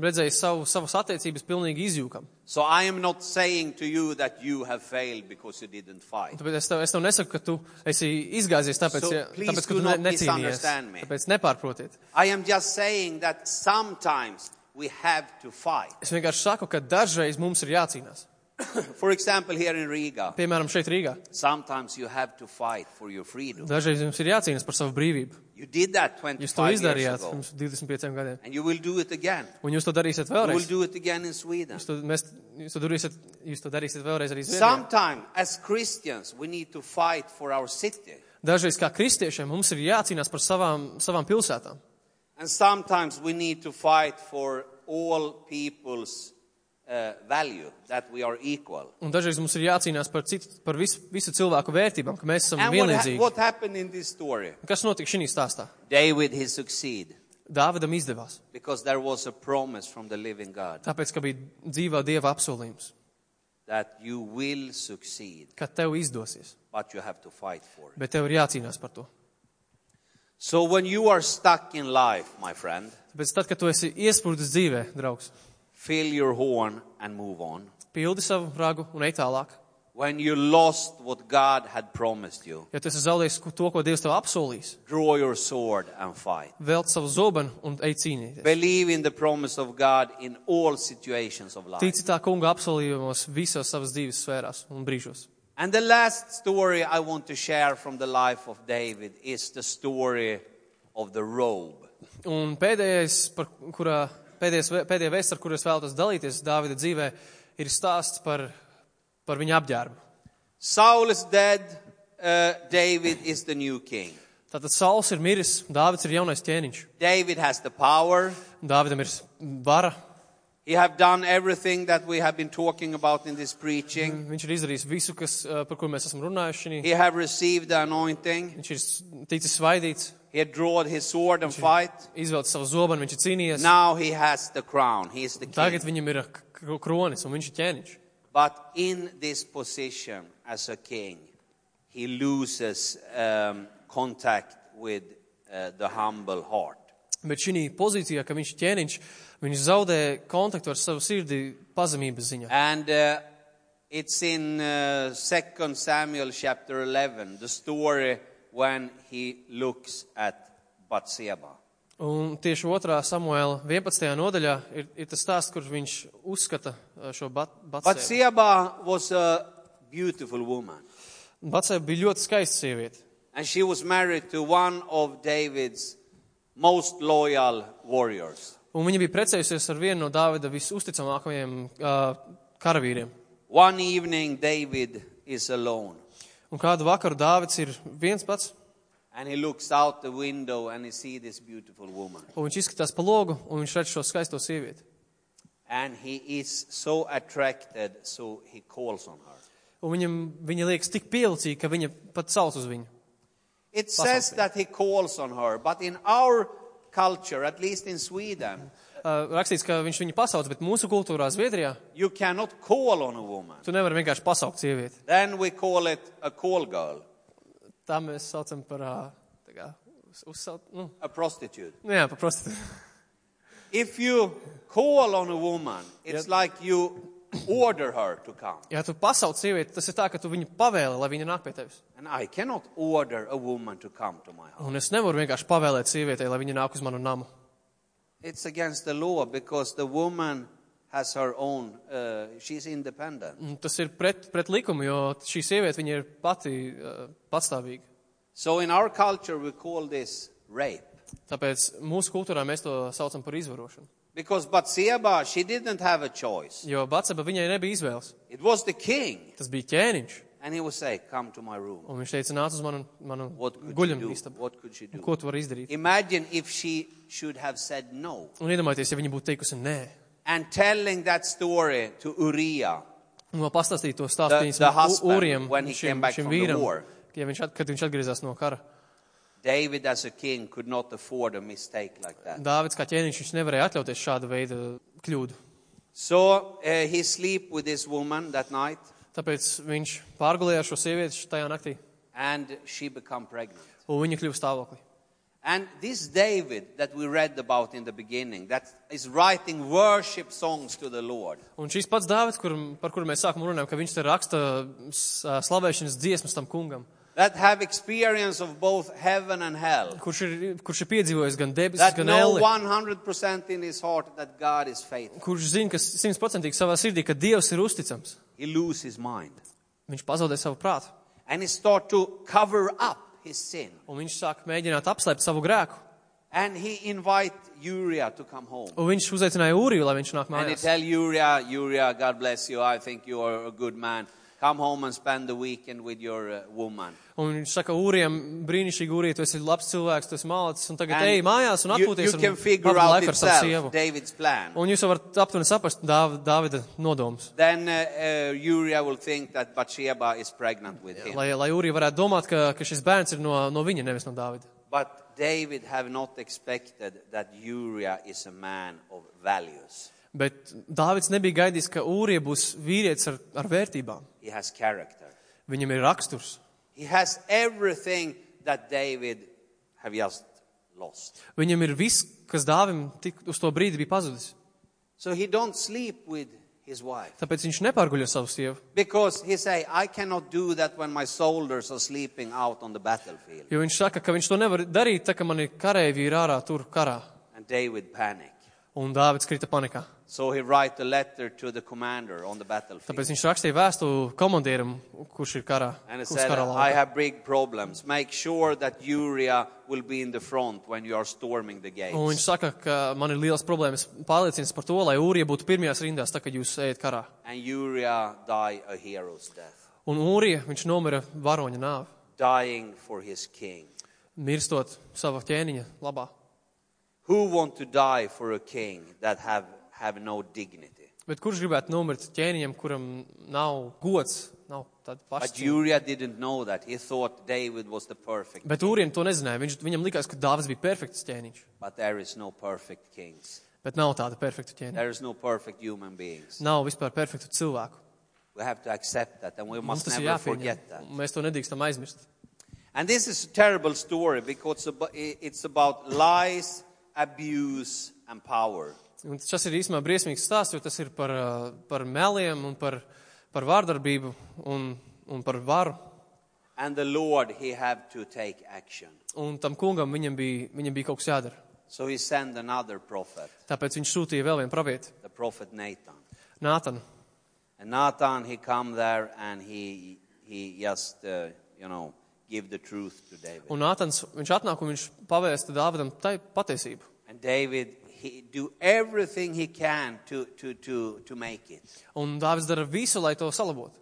S3: redzējis savu, savas attiecības pilnīgi izjūkam.
S2: So I am not saying to you that you have failed because you didn't fight.
S3: Tāpēc es tev, es tev nesaku, ka tu esi izgāzies, tāpēc,
S2: So
S3: ja,
S2: please
S3: tāpēc ka
S2: do
S3: tu ne,
S2: not
S3: necīnījies.
S2: misunderstand me.
S3: Tāpēc nepārprotiet.
S2: I am just saying that sometimes we have to fight.
S3: Es vienkārši saku, ka dažreiz mums ir jācīnās.
S2: For example, here in Riga,
S3: Piemēram, šeit Rīgā.
S2: sometimes you have to fight for your freedom.
S3: Dažreiz jums ir jācīnās par savu brīvību.
S2: You did that
S3: Jūs to
S2: 25 years
S3: izdarījāt
S2: ago,
S3: pirms 25 gadiem.
S2: and you will do it again.
S3: Un jūs to darīsiet
S2: You will
S3: vēlreiz.
S2: do it again in Sweden.
S3: Jūs to, mēs, jūs to, darīsiet, jūs to darīsiet vēlreiz arī Zviedrijā.
S2: Sometimes, as Christians, we need to fight for our city,
S3: Dažreiz kā kristiešiem mums ir jācīnās par savām, savām pilsētām.
S2: and sometimes we need to fight for all people's uh, value, that we are equal.
S3: Un dažreiz mums ir jācīnās par, citu, par visu, visu cilvēku vērtībām, ka mēs esam
S2: And what, ha-
S3: vienlīdzīgi.
S2: what happened in this story?
S3: Kas notika šī stāstā?
S2: David, he succeed
S3: Dāvidam izdevās,
S2: because there was a promise from the living God
S3: tāpēc, ka bija dzīvā dieva apsolījums,
S2: that you will succeed,
S3: ka tev izdosies,
S2: but you have to fight for it.
S3: bet tev ir jācīnās par to.
S2: So when you are stuck in life, my friend,
S3: Tāpēc, tad, kad tu esi iesprūdis dzīvē, draugs,
S2: fill your horn and move on.
S3: pildi savu ragu un ej tālāk.
S2: When you lost what God had promised you,
S3: Ja tu esi zaudējis ko- to, ko Dievs tev apsolījis,
S2: draw your sword and fight.
S3: velc savu zobenu un ej cīnīties.
S2: Believe in the promise of God in all situations of life.
S3: Tici tā kunga apsolījumos visos savas dzīves sfērās un brīžos.
S2: And the last story I want to share from the life of David is the story of the robe.
S3: Un pēdējais, par kurā, pēdējais, vē- pēdējā vēsts, ar kuru es vēlos dalīties Dāvida dzīvē, ir stāsts par, par viņa apģērbu.
S2: Saul is dead, uh, David is the new king.
S3: Tātad Sauls ir miris, Dāvids ir jaunais ķēniņš.
S2: David has the power.
S3: Dāvidam ir vara,
S2: He have done everything that we have been talking about in this preaching.
S3: viņš ir izdarījis visu, kas, eh, par ko mēs esam runājuši.
S2: He
S3: šī.
S2: have received the anointing.
S3: Viņš ir s- ticis svaidīts,
S2: He had drawn his sword and fight.
S3: izvēlēts savu zobenu, viņš ir cīnījies.
S2: Now he has the crown. He is the king.
S3: Tagad viņam ir eh, k- k- kronis un viņš ir ķēniņš.
S2: But in this position as a king, he loses um, contact with uh, the humble heart.
S3: Bet šī pozīcijā, ka viņš ir ķēniņš, viņš zaudē kontaktu ar savu sirdi pazemības ziņā.
S2: And uh, it's in uh, 2 Samuel chapter 11, the story when he looks at Bathsheba.
S3: Un tieši otrā Samuēla 11. nodaļā ir, ir tas stāsts, kur viņš uzskata eh, šo batsēbu.
S2: Bathsheba was a beautiful woman,
S3: Batsēba bija ļoti skaista sieviete.
S2: and she was married to one of David's most loyal warriors.
S3: Un viņa bija precējusies ar vienu no Dāvida visusticamākajiem uh, karavīriem.
S2: One evening, David is alone.
S3: Un kādu vakaru Dāvids ir viens pats,
S2: And he looks out the window and he sees this beautiful woman.
S3: un viņš izskatās pa logu, un viņš redz šo skaisto sievieti.
S2: And he is so attracted, so he calls on her.
S3: Un viņam, viņa liekas tik pielicīga, ka viņa pat sauc uz viņu.
S2: It says that he calls on her, but in our culture, at least in Sweden,
S3: Uh, rakstīts, ka viņš viņu pasauc, bet mūsu kultūrā Zviedrijā
S2: you cannot call on a woman.
S3: tu nevari vienkārši pasaukt sievieti.
S2: Then we call it a call girl,
S3: Tā mēs saucam par uh, tā kā, uz, uzsaukt, nu,
S2: a prostitute.
S3: nu jā, par prostitūciju.
S2: If you call on a woman, it's like you order her to come.
S3: Ja tu pasauc sievieti, tas ir tā, ka tu viņu pavēli, lai viņa nāk pie tevis.
S2: And I cannot order a woman to come to my house.
S3: Un es nevaru vienkārši pavēlēt sievietei, lai viņa nāk uz manu namu.
S2: It's against the law because the woman has her own, uh, she's independent.
S3: Un Tas ir pret, pret likumu, jo šī sieviete viņa ir pati uh, patstāvīga.
S2: So in our culture, we call this rape.
S3: Tāpēc mūsu kultūrā mēs to saucam par izvarošanu.
S2: Because Bathsheba, she didn't have a choice.
S3: Jo Batseba viņai nebija izvēles.
S2: It was the king.
S3: Tas bija ķēniņš,
S2: And he would say, Come to my room.
S3: un viņš teica, nāc uz manu, manu
S2: What could
S3: guļam
S2: she do?
S3: istabu.
S2: What could she do?
S3: Ko tu vari izdarīt?
S2: Imagine if she should have said no.
S3: Un iedomājieties, ja viņa būtu teikusi nē.
S2: And telling that story to Uriah.
S3: Un vēl pastāstīt to stāstu
S2: The-
S3: viņas
S2: the husband,
S3: ūriem,
S2: when he came
S3: šim,
S2: back
S3: šim
S2: from the
S3: vīram,
S2: war.
S3: ja viņš at, kad viņš atgriezās no kara.
S2: David, as a king, could not afford a mistake like that.
S3: Dāvids kā ķēniņš, viņš nevarēja atļauties šāda veida kļūdu.
S2: So uh, he sleep with this woman that night,
S3: Tāpēc viņš pārgulēja ar šo sievieti tajā naktī,
S2: and she become pregnant.
S3: un viņa kļuva stāvoklī.
S2: And this David that we read about in the beginning, that is writing worship songs to the Lord.
S3: Un šis pats Dāvids, kur, par kuru mēs sākumā runājam, ka viņš te raksta s- slavēšanas dziesmas tam kungam,
S2: that have experience of both heaven and hell.
S3: kurš ir, kurš ir piedzīvojis gan debesis,
S2: That
S3: gan
S2: know
S3: elli,
S2: 100% in his heart that God is faithful.
S3: kurš zina, ka simtprocentīgi savā sirdī, ka Dievs ir uzticams.
S2: He lose his mind.
S3: Viņš pazaudē savu prātu,
S2: And he start to cover up his sin.
S3: un viņš sāk mēģināt apslēpt savu grēku.
S2: And he invite Uriah to come home.
S3: Un viņš uzaicināja Ūriju, lai viņš nāk
S2: And he
S3: mājās.
S2: tell Uriah, Uriah, God bless you. I think you are a good man. Come home and spend the weekend with your uh, woman.
S3: Un viņš saka, Ūrijam, brīnišķīgi, Ūrija, tu esi labs cilvēks, tu esi malācis, un tagad ej
S2: And
S3: mājās un
S2: you, you
S3: atpūties. un
S2: can figure
S3: pavadi
S2: out
S3: laiku ar savu
S2: itself,
S3: sievu.
S2: David's plan.
S3: Un jūs jau varat aptuveni saprast Dāv- Dāvida nodomus.
S2: Then uh, uh, Uriah will think that Bathsheba is pregnant with him.
S3: Lai, lai Ūrija varētu domāt, ka, ka šis bērns ir no, no viņa, nevis no Dāvida.
S2: But David have not expected that Uriah is a man of values.
S3: Bet Dāvids nebija gaidījis, ka Ūrija būs vīrietis ar, ar vērtībām.
S2: He has character.
S3: Viņam ir raksturs.
S2: He has everything that David have just lost.
S3: Viņam ir viss, kas Dāvim tik uz to brīdi bija pazudis.
S2: So he don't sleep with his wife
S3: Tāpēc viņš nepārguļo savu sievu.
S2: because he say, I cannot do that when my soldiers are sleeping out on the battlefield.
S3: Jo viņš saka, ka viņš to nevar darīt, tā kā man ir kareivi ir ārā tur karā.
S2: And David panic.
S3: Un Dāvids krita panikā.
S2: So he write a letter to the commander on the battlefield.
S3: Tāpēc viņš rakstīja vēstuli komandierim, kurš ir karā.
S2: And he
S3: kurš
S2: said,
S3: karā
S2: I
S3: laukā.
S2: have big problems. Make sure that Uriah will be in the front when you are storming the gates.
S3: Un viņš saka, ka man ir liels problēmas pārliecināties par to, lai Ūrija būtu pirmajās rindās, tā, kad jūs ejat karā.
S2: And Uriah died a hero's death,
S3: Un Ūrija, viņš nomira varoņa nāvi,
S2: dying for his king.
S3: mirstot sava ķēniņa labā.
S2: Who want to die for a king that have, have no dignity?
S3: Bet kurš gribētu nomirt ķēniņam, kuram nav gods, nav tāda
S2: But
S3: paša?
S2: Uriah didn't know that. He thought David was the perfect.
S3: Bet Ūrijam to nezināja. Viņš, viņam likās, ka Dāvids bija perfekts ķēniņš.
S2: But there is no perfect kings.
S3: Bet nav tāda perfekta ķēniņa.
S2: There is no perfect human beings.
S3: Nav vispār perfektu cilvēku.
S2: We have to accept that and we
S3: Mums
S2: must
S3: tas ir
S2: never forget that.
S3: jāpieņem. Mēs to nedrīkstam aizmirst.
S2: And this is a terrible story because abo- i- it's about lies, abuse, and power.
S3: Un tas ir īstenībā briesmīgs stāsts, jo tas ir par, ā, par meliem un par, par vārdarbību un, un par varu.
S2: And the Lord, He had to take action.
S3: Un tam kungam viņam bija, viņam bija kaut kas jādara.
S2: So He sent another prophet,
S3: Tāpēc viņš sūtīja vēl vienu pravieti,
S2: the prophet Nathan.
S3: Nātanu.
S2: And Nathan, he come there and he, he just, uh, you know, give the truth to David.
S3: Un Nātans, viņš atnāk un viņš pavēsta Dāvidam tai patiesību.
S2: And David, he do everything he can to, to, to, to make it.
S3: Un Dāvids dara visu, lai to salabotu.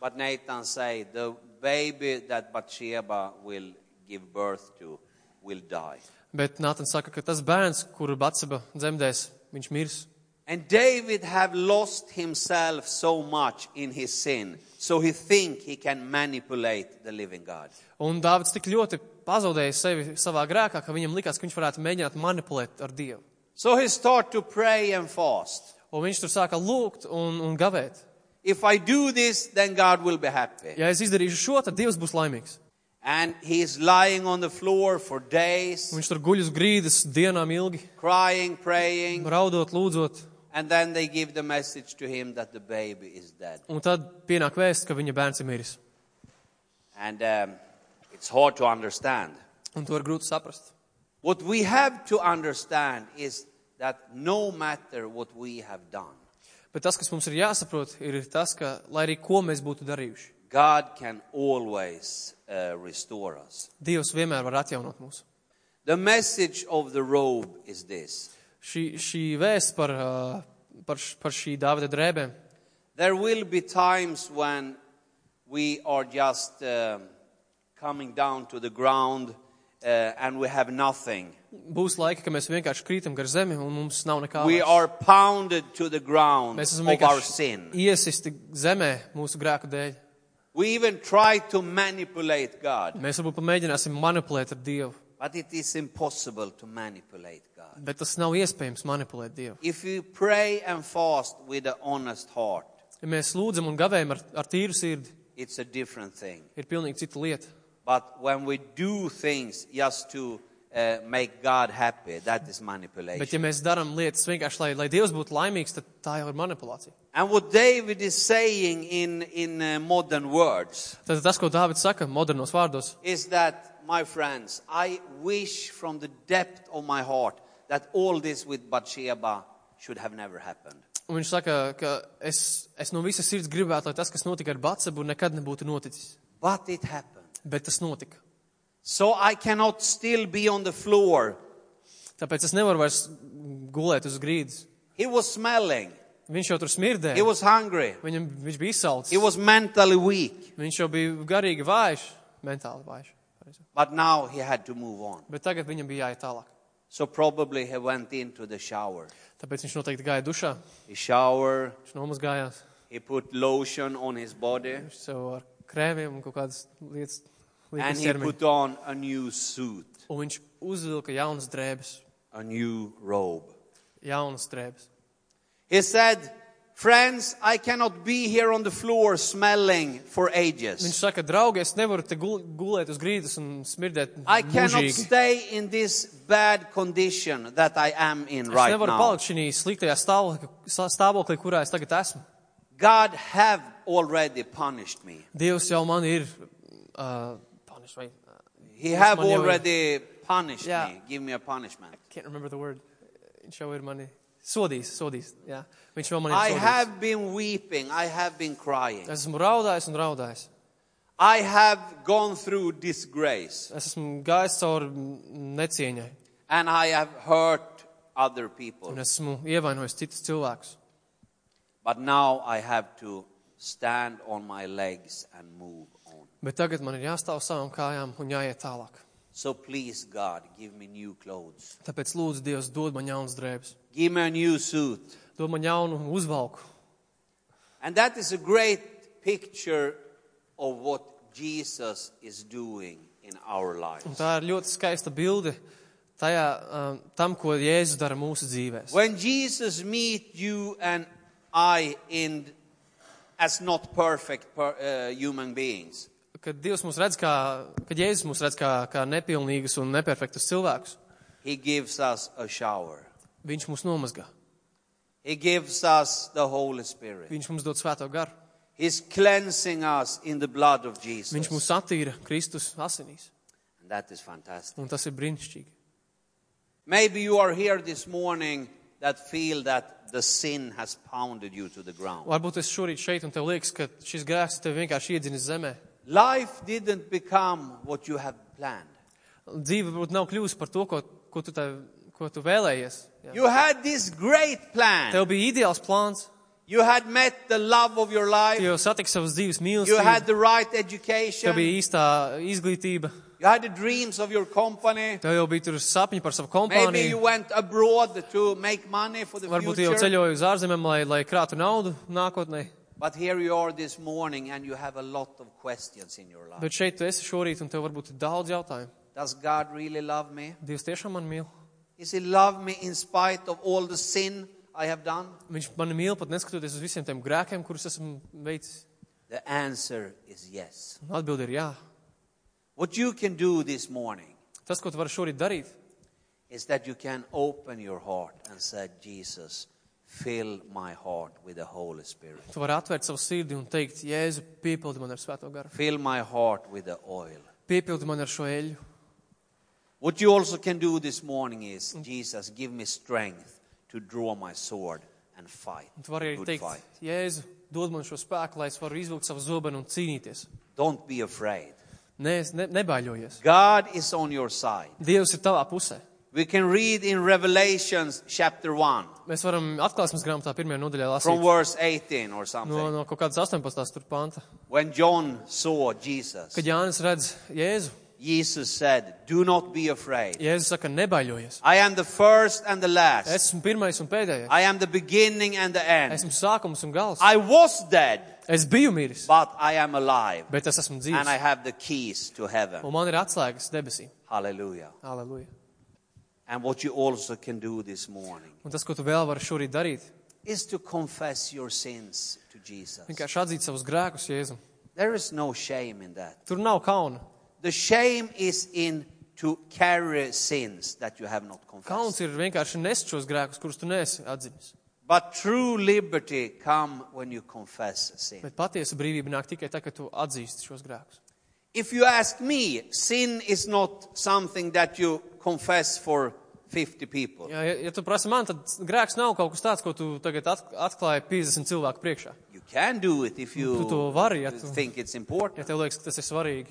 S2: But Nathan say, the baby that Bathsheba will give birth to will die.
S3: Bet Nātans saka, ka tas bērns, kuru Batseba dzemdēs, viņš mirs.
S2: And David have lost himself so much in his sin, so he think he can manipulate the living God.
S3: Un Dāvids tik ļoti pazaudēja sevi savā grēkā, ka viņam likās, ka viņš varētu mēģināt manipulēt ar Dievu.
S2: So he start to pray and fast.
S3: Un viņš tur sāka lūgt un, un gavēt.
S2: If I do this, then God will be happy.
S3: Ja es izdarīšu šo, tad Dievs būs laimīgs.
S2: And he is lying on the floor for days,
S3: Un viņš tur guļ uz grīdas dienām ilgi,
S2: crying, praying,
S3: raudot, lūdzot.
S2: and then they give the message to him that the baby is dead.
S3: Un tad pienāk vēsts, ka viņa bērns ir miris.
S2: And um, it's hard to understand.
S3: Un to ir grūti saprast.
S2: What we have to understand is that no matter what we have done,
S3: Bet tas, kas mums ir jāsaprot, ir tas, ka, lai arī ko mēs būtu darījuši,
S2: God can always uh, restore us.
S3: Dievs vienmēr var atjaunot mūs.
S2: The message of the robe is this
S3: Šī, šī vēsts par, ā, par, š- par šī Dāvida drēbēm.
S2: there will be times when we are just um, coming down to the ground uh, and we have nothing.
S3: Būs laiki, ka mēs vienkārši krītam gar zemi un mums nav nekā.
S2: We
S3: vairs.
S2: are pounded to the ground
S3: Mēs esam
S2: of our
S3: vienkārši
S2: sin.
S3: iesisti zemē mūsu grēku dēļ.
S2: We even try to manipulate God,
S3: Mēs varbūt pamēģināsim manipulēt ar Dievu.
S2: but it is impossible to manipulate God.
S3: Bet tas nav iespējams manipulēt Dievu.
S2: If you pray and fast with an honest heart,
S3: Ja mēs lūdzam un gavējam ar, ar tīru sirdi,
S2: it's a different thing.
S3: ir pilnīgi cita lieta.
S2: But when we do things just to uh, make God happy, that is manipulation.
S3: Bet, ja mēs darām lietas vienkārši, lai, lai Dievs būtu laimīgs, tad tā jau ir manipulācija.
S2: And what David is saying in, in uh, modern words
S3: Tad tas, ko Dārvids saka modernos vārdos,
S2: is that, my friends, I wish from the depth of my heart that all this with Bathsheba should have never happened.
S3: un viņš saka, ka es, es no visas sirds gribētu, lai tas, kas notika ar Batsebu, nekad nebūtu noticis.
S2: But it happened.
S3: Bet tas notika.
S2: So I cannot still be on the floor.
S3: Tāpēc es nevaru vairs gulēt uz grīdas.
S2: He was smelling.
S3: Viņš jau tur smirdēja.
S2: He was hungry.
S3: Viņam, viņš bija izsalcis.
S2: He was mentally weak.
S3: Viņš jau bija garīgi vājš, mentāli vājš. pareizi.
S2: But now he had to move on.
S3: Bet tagad viņam bija jāiet tālāk.
S2: So probably he went into the shower.
S3: Tāpēc viņš noteikti gāja dušā,
S2: He showered.
S3: viņš nomazgājās,
S2: He put lotion on his body.
S3: viņš sev ar krēmiem un kaut kādas lietas
S2: And
S3: liekas
S2: he
S3: ķermeņa.
S2: put on a new suit,
S3: Un viņš uzvilka jaunas drēbes,
S2: a new robe.
S3: jaunas drēbes.
S2: He said, Friends, I cannot be here on the floor smelling for
S3: Viņš
S2: ages.
S3: saka, draugi, es nevaru te gul gulēt uz grīdas un smirdēt.
S2: I cannot
S3: mūžīgi.
S2: stay in this bad condition that I am in
S3: Es
S2: right
S3: nevaru
S2: now.
S3: palikt šajā sliktajā stāvoklī, stāvoklī, kurā es tagad esmu.
S2: God have already punished me.
S3: Dievs jau man ir. Uh, punish, vai, uh,
S2: He
S3: Yes,
S2: have
S3: man, yeah, we-
S2: already punished
S3: Yeah.
S2: me. Give me a punishment.
S3: can't remember the word. Viņš jau ir mani sodījis, sodījis. Jā. Viņš jau mani
S2: I
S3: ir sodījis.
S2: have been weeping. I have been crying.
S3: Es esmu raudājis un raudājis.
S2: I have gone through disgrace.
S3: Es esmu gājis cauri mm, necieņai
S2: And I have hurt other people.
S3: un esmu ievainojis citus cilvēkus.
S2: But now I have to stand on my legs and move on.
S3: Bet tagad man ir jāstāv uz savām kājām un jāiet tālāk.
S2: So please, God, give me new clothes.
S3: Tāpēc lūdzu, Dievs, dod man jaunas drēbes,
S2: Give me a new suit.
S3: dod man jaunu uzvalku.
S2: And that is a great picture of what Jesus is doing in our
S3: Un
S2: lives.
S3: tā ir ļoti skaista bilde tajā, um, tam, ko Jēzus dara mūsu dzīvēm.
S2: When Jesus meet you and I in as not perfect per, uh, human beings,
S3: Kad Dievs mūs redz kā, kad Jēzus mūs redz kā, kā nepilnīgus un neperfektus cilvēkus,
S2: he gives us a shower.
S3: Viņš mūs nomazgā.
S2: He gives us the Holy Spirit.
S3: Viņš mums dod svēto garu.
S2: He's cleansing us in the blood of Jesus.
S3: Viņš mūs attīra Kristus asinīs.
S2: And that is fantastic.
S3: Un tas ir brīnišķīgi.
S2: Maybe you are here this morning that feel that the sin has pounded you to the ground.
S3: Varbūt es šorīt šeit un tev liekas, ka šis grēks tev vienkārši iedzinis zemē.
S2: Life didn't become what you have planned.
S3: Dzīve varbūt nav kļuvusi par to, ko, ko, tu, tā, ko tu vēlējies. Jā.
S2: You had this great plan.
S3: Tev bija ideāls plāns,
S2: You had met the love of your
S3: tu
S2: life.
S3: jau satiksi savas dzīves
S2: You had
S3: mīlestību,
S2: the right
S3: tev
S2: education.
S3: bija īstā izglītība,
S2: You had the dreams of your company.
S3: tev jau bija tur sapņi par savu
S2: Maybe you
S3: kompāniju.
S2: went abroad to make money for the
S3: Varbūt tu jau
S2: future.
S3: ceļoji uz ārzemēm, lai, lai krātu naudu nākotnē.
S2: But here you are this morning and you have a lot of questions in your life.
S3: Bet šeit tu esi šorīt un tev varbūt ir daudz jautājumu.
S2: Does God really love me?
S3: Dievs tiešām mani mīl.
S2: Is he love me in spite of all the sin I have done?
S3: Viņš mani mīl pat neskatoties uz visiem tiem grēkiem, kurus esmu veicis.
S2: The answer is yes.
S3: Un atbildi ir jā.
S2: What you can do this morning
S3: Tas, ko tu vari šorīt darīt,
S2: is that you can open your heart and say, Jesus, fill my heart with the Holy Spirit.
S3: tu vari atvērt savu sirdi un teikt, Jēzu, piepildi man ar svēto garu,
S2: Fill my heart with the oil.
S3: piepildi man ar šo eļu.
S2: What you also can do this morning is,
S3: Mm.
S2: Jesus, give me strength to draw my sword and fight.
S3: Un tu vari arī
S2: good fight.
S3: teikt, Jēzu, dod man šo spēku, lai es varu izvilkt savu zobenu un cīnīties.
S2: Don't be afraid.
S3: Nē, es ne, nebaiļojies.
S2: God is on your side.
S3: Dievs ir tavā pusē.
S2: We can read in Revelations chapter 1
S3: Mēs varam atklāsmes grāmatā pirmajā nodaļā
S2: from
S3: lasīt
S2: verse 18 or something.
S3: no, no kaut kādas 18. tur panta.
S2: When John saw Jesus,
S3: Kad Jānis redz Jēzu,
S2: Jesus said, Do not be afraid.
S3: Jēzus saka, nebaiļojies.
S2: I am the first and the last.
S3: Esmu pirmais un pēdējais.
S2: I am the beginning and the end.
S3: Esmu sākums un gals.
S2: I was dead,
S3: Es biju miris,
S2: but I am alive.
S3: bet es esmu
S2: And I
S3: dzīves.
S2: have the keys to heaven.
S3: Un man ir atslēgas debesīm.
S2: Hallelujah.
S3: Aleluja.
S2: And what you also can do this morning
S3: Un tas, ko tu vēl vari šorīt darīt,
S2: is to confess your sins to Jesus.
S3: vienkārši atzīt savus grēkus Jēzum.
S2: There is no shame in that.
S3: Tur nav kauna.
S2: The shame is in to carry sins that you have not confessed.
S3: Kauns ir vienkārši nest šos grēkus, kurus tu nesi atzinis.
S2: But true liberty come when you confess a sin.
S3: Bet patiesa brīvība nāk tikai tad, kad tu atzīsti šos grēkus.
S2: If you ask me, sin is not something that you confess for 50 people.
S3: Ja, ja, ja tu prasi man, tad grēks nav kaut kas tāds, ko tu tagad at- atklāji 50 cilvēku priekšā.
S2: You can do it if you
S3: Tu to vari, ja tu-
S2: think it's important.
S3: Ja tev liekas, ka tas ir svarīgi,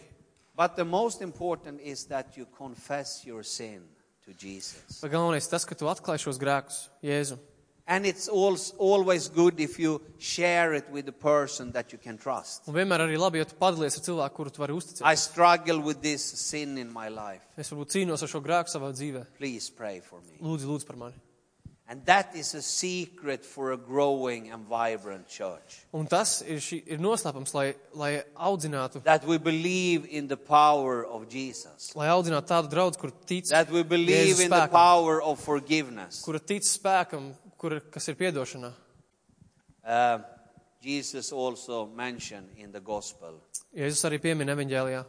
S2: But the most important is that you confess your sin to Jesus.
S3: tad galvenais ir tas, ka tu atklāji šos grēkus Jēzum.
S2: And it's als- always good if you share it with a person that you can trust.
S3: Un vienmēr arī labi, ja tu padalies ar cilvēku, kuru tu vari uzticēt.
S2: I struggle with this sin in my life.
S3: Es varbūt cīnos ar šo grēku savā dzīvē.
S2: Please pray for me.
S3: Lūdzu, lūdzu par mani.
S2: And that is a secret for a growing and vibrant church.
S3: Un tas ir, šī, ir noslēpums, lai, lai audzinātu,
S2: That we believe in the power of Jesus.
S3: lai audzinātu tādu draugu, kur tic,
S2: That we believe
S3: Jēzus
S2: in the
S3: spēkam.
S2: power of forgiveness.
S3: kura tic spēkam, kur, kas ir piedošanā.
S2: Uh, Jesus also mentioned in the gospel,
S3: Jēzus arī piemin evaņģēlijā.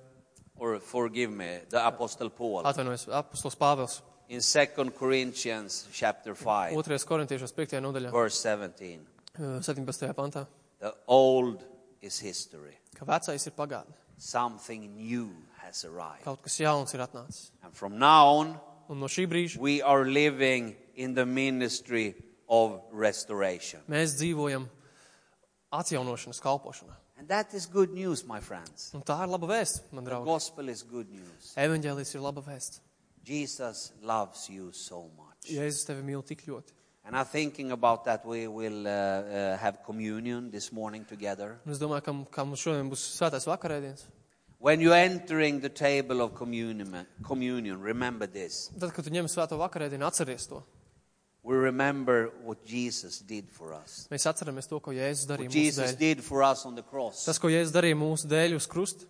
S2: or forgive me, the apostle Paul.
S3: Atvainojos, apustulis Pāvils.
S2: in 2 Corinthians chapter 5
S3: 2. korintiešos 5. nodaļā,
S2: verse 17
S3: eh, 17. pantā,
S2: the old is history
S3: ka vecais ir pagātne.
S2: something new has arrived
S3: Kaut kas jauns ir atnācis.
S2: and from now on
S3: Un no šī brīža
S2: we are living in the ministry of restoration
S3: mēs dzīvojam atjaunošanas kalpošanā.
S2: and that is good news my friends
S3: Un tā ir laba vēsts, man
S2: the
S3: draugi.
S2: gospel is good news
S3: Evaņģēlijs ir laba vēsts.
S2: Jesus loves you so much
S3: Jēzus tevi mīl tik ļoti.
S2: and I'm thinking about that we will uh, uh, have communion this morning together
S3: Un es domāju, ka, ka mums šodien būs svētais vakarēdienas.
S2: when you're entering the table of communion communion remember this
S3: Tad, kad tu ņem svēto vakarēdienu, atceries to.
S2: We remember what Jesus did for us.
S3: Mēs atceramies to, ko Jēzus
S2: What
S3: darīja mūsu
S2: Jesus
S3: dēļ.
S2: did for us on the cross.
S3: Tas, ko Jēzus darīja mūsu dēļ uz krusta,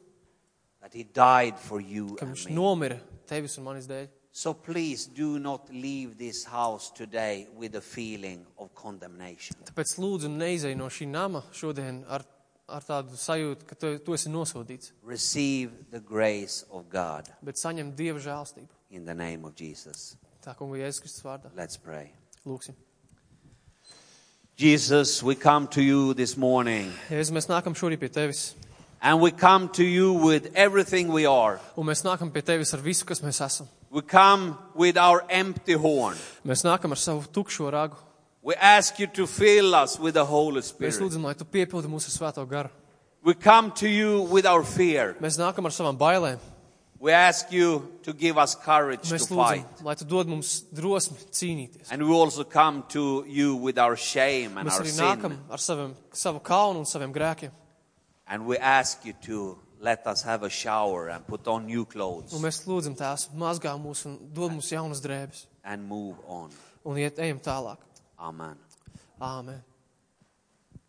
S2: That he died for you
S3: ka viņš
S2: and me.
S3: nomira tevis un manis dēļ.
S2: So please do not leave this house today with a feeling of condemnation.
S3: Tāpēc lūdzu, neizej no šī nama šodien ar, ar tādu sajūtu, ka tu, tu esi nosodīts,
S2: Receive the grace of God
S3: bet saņem dieva žēlstību.
S2: in the name of Jesus.
S3: Tā kungu Jēzus Kristus vārdā.
S2: Let's pray.
S3: Lūksim.
S2: Jesus, we come to you this morning
S3: Jēzus, mēs nākam šorīt pie tevis,
S2: and we come to you with everything we are.
S3: un mēs nākam pie tevis ar visu, kas mēs esam.
S2: We come with our empty horn.
S3: Mēs nākam ar savu tukšo ragu.
S2: We ask you to fill us with the Holy
S3: Mēs
S2: Spirit.
S3: lūdzam, lai tu piepildi mūsu svēto garu.
S2: We come to you with our fear.
S3: Mēs nākam ar savām bailēm.
S2: We ask you to give us courage to
S3: Mēs
S2: fight.
S3: lūdzam, lai tu dod mums drosmi cīnīties.
S2: And we also come to you with our shame and
S3: Mēs
S2: our
S3: arī
S2: sin.
S3: nākam ar saviem, savu kaunu un saviem grēkiem.
S2: And we ask you to let us have a shower and put on new
S3: Un
S2: clothes
S3: mēs lūdzam tās, mazgā mūs un dod mums jaunas drēbes.
S2: and move on.
S3: Un iet, ejam tālāk.
S2: Amen.
S3: Āmen.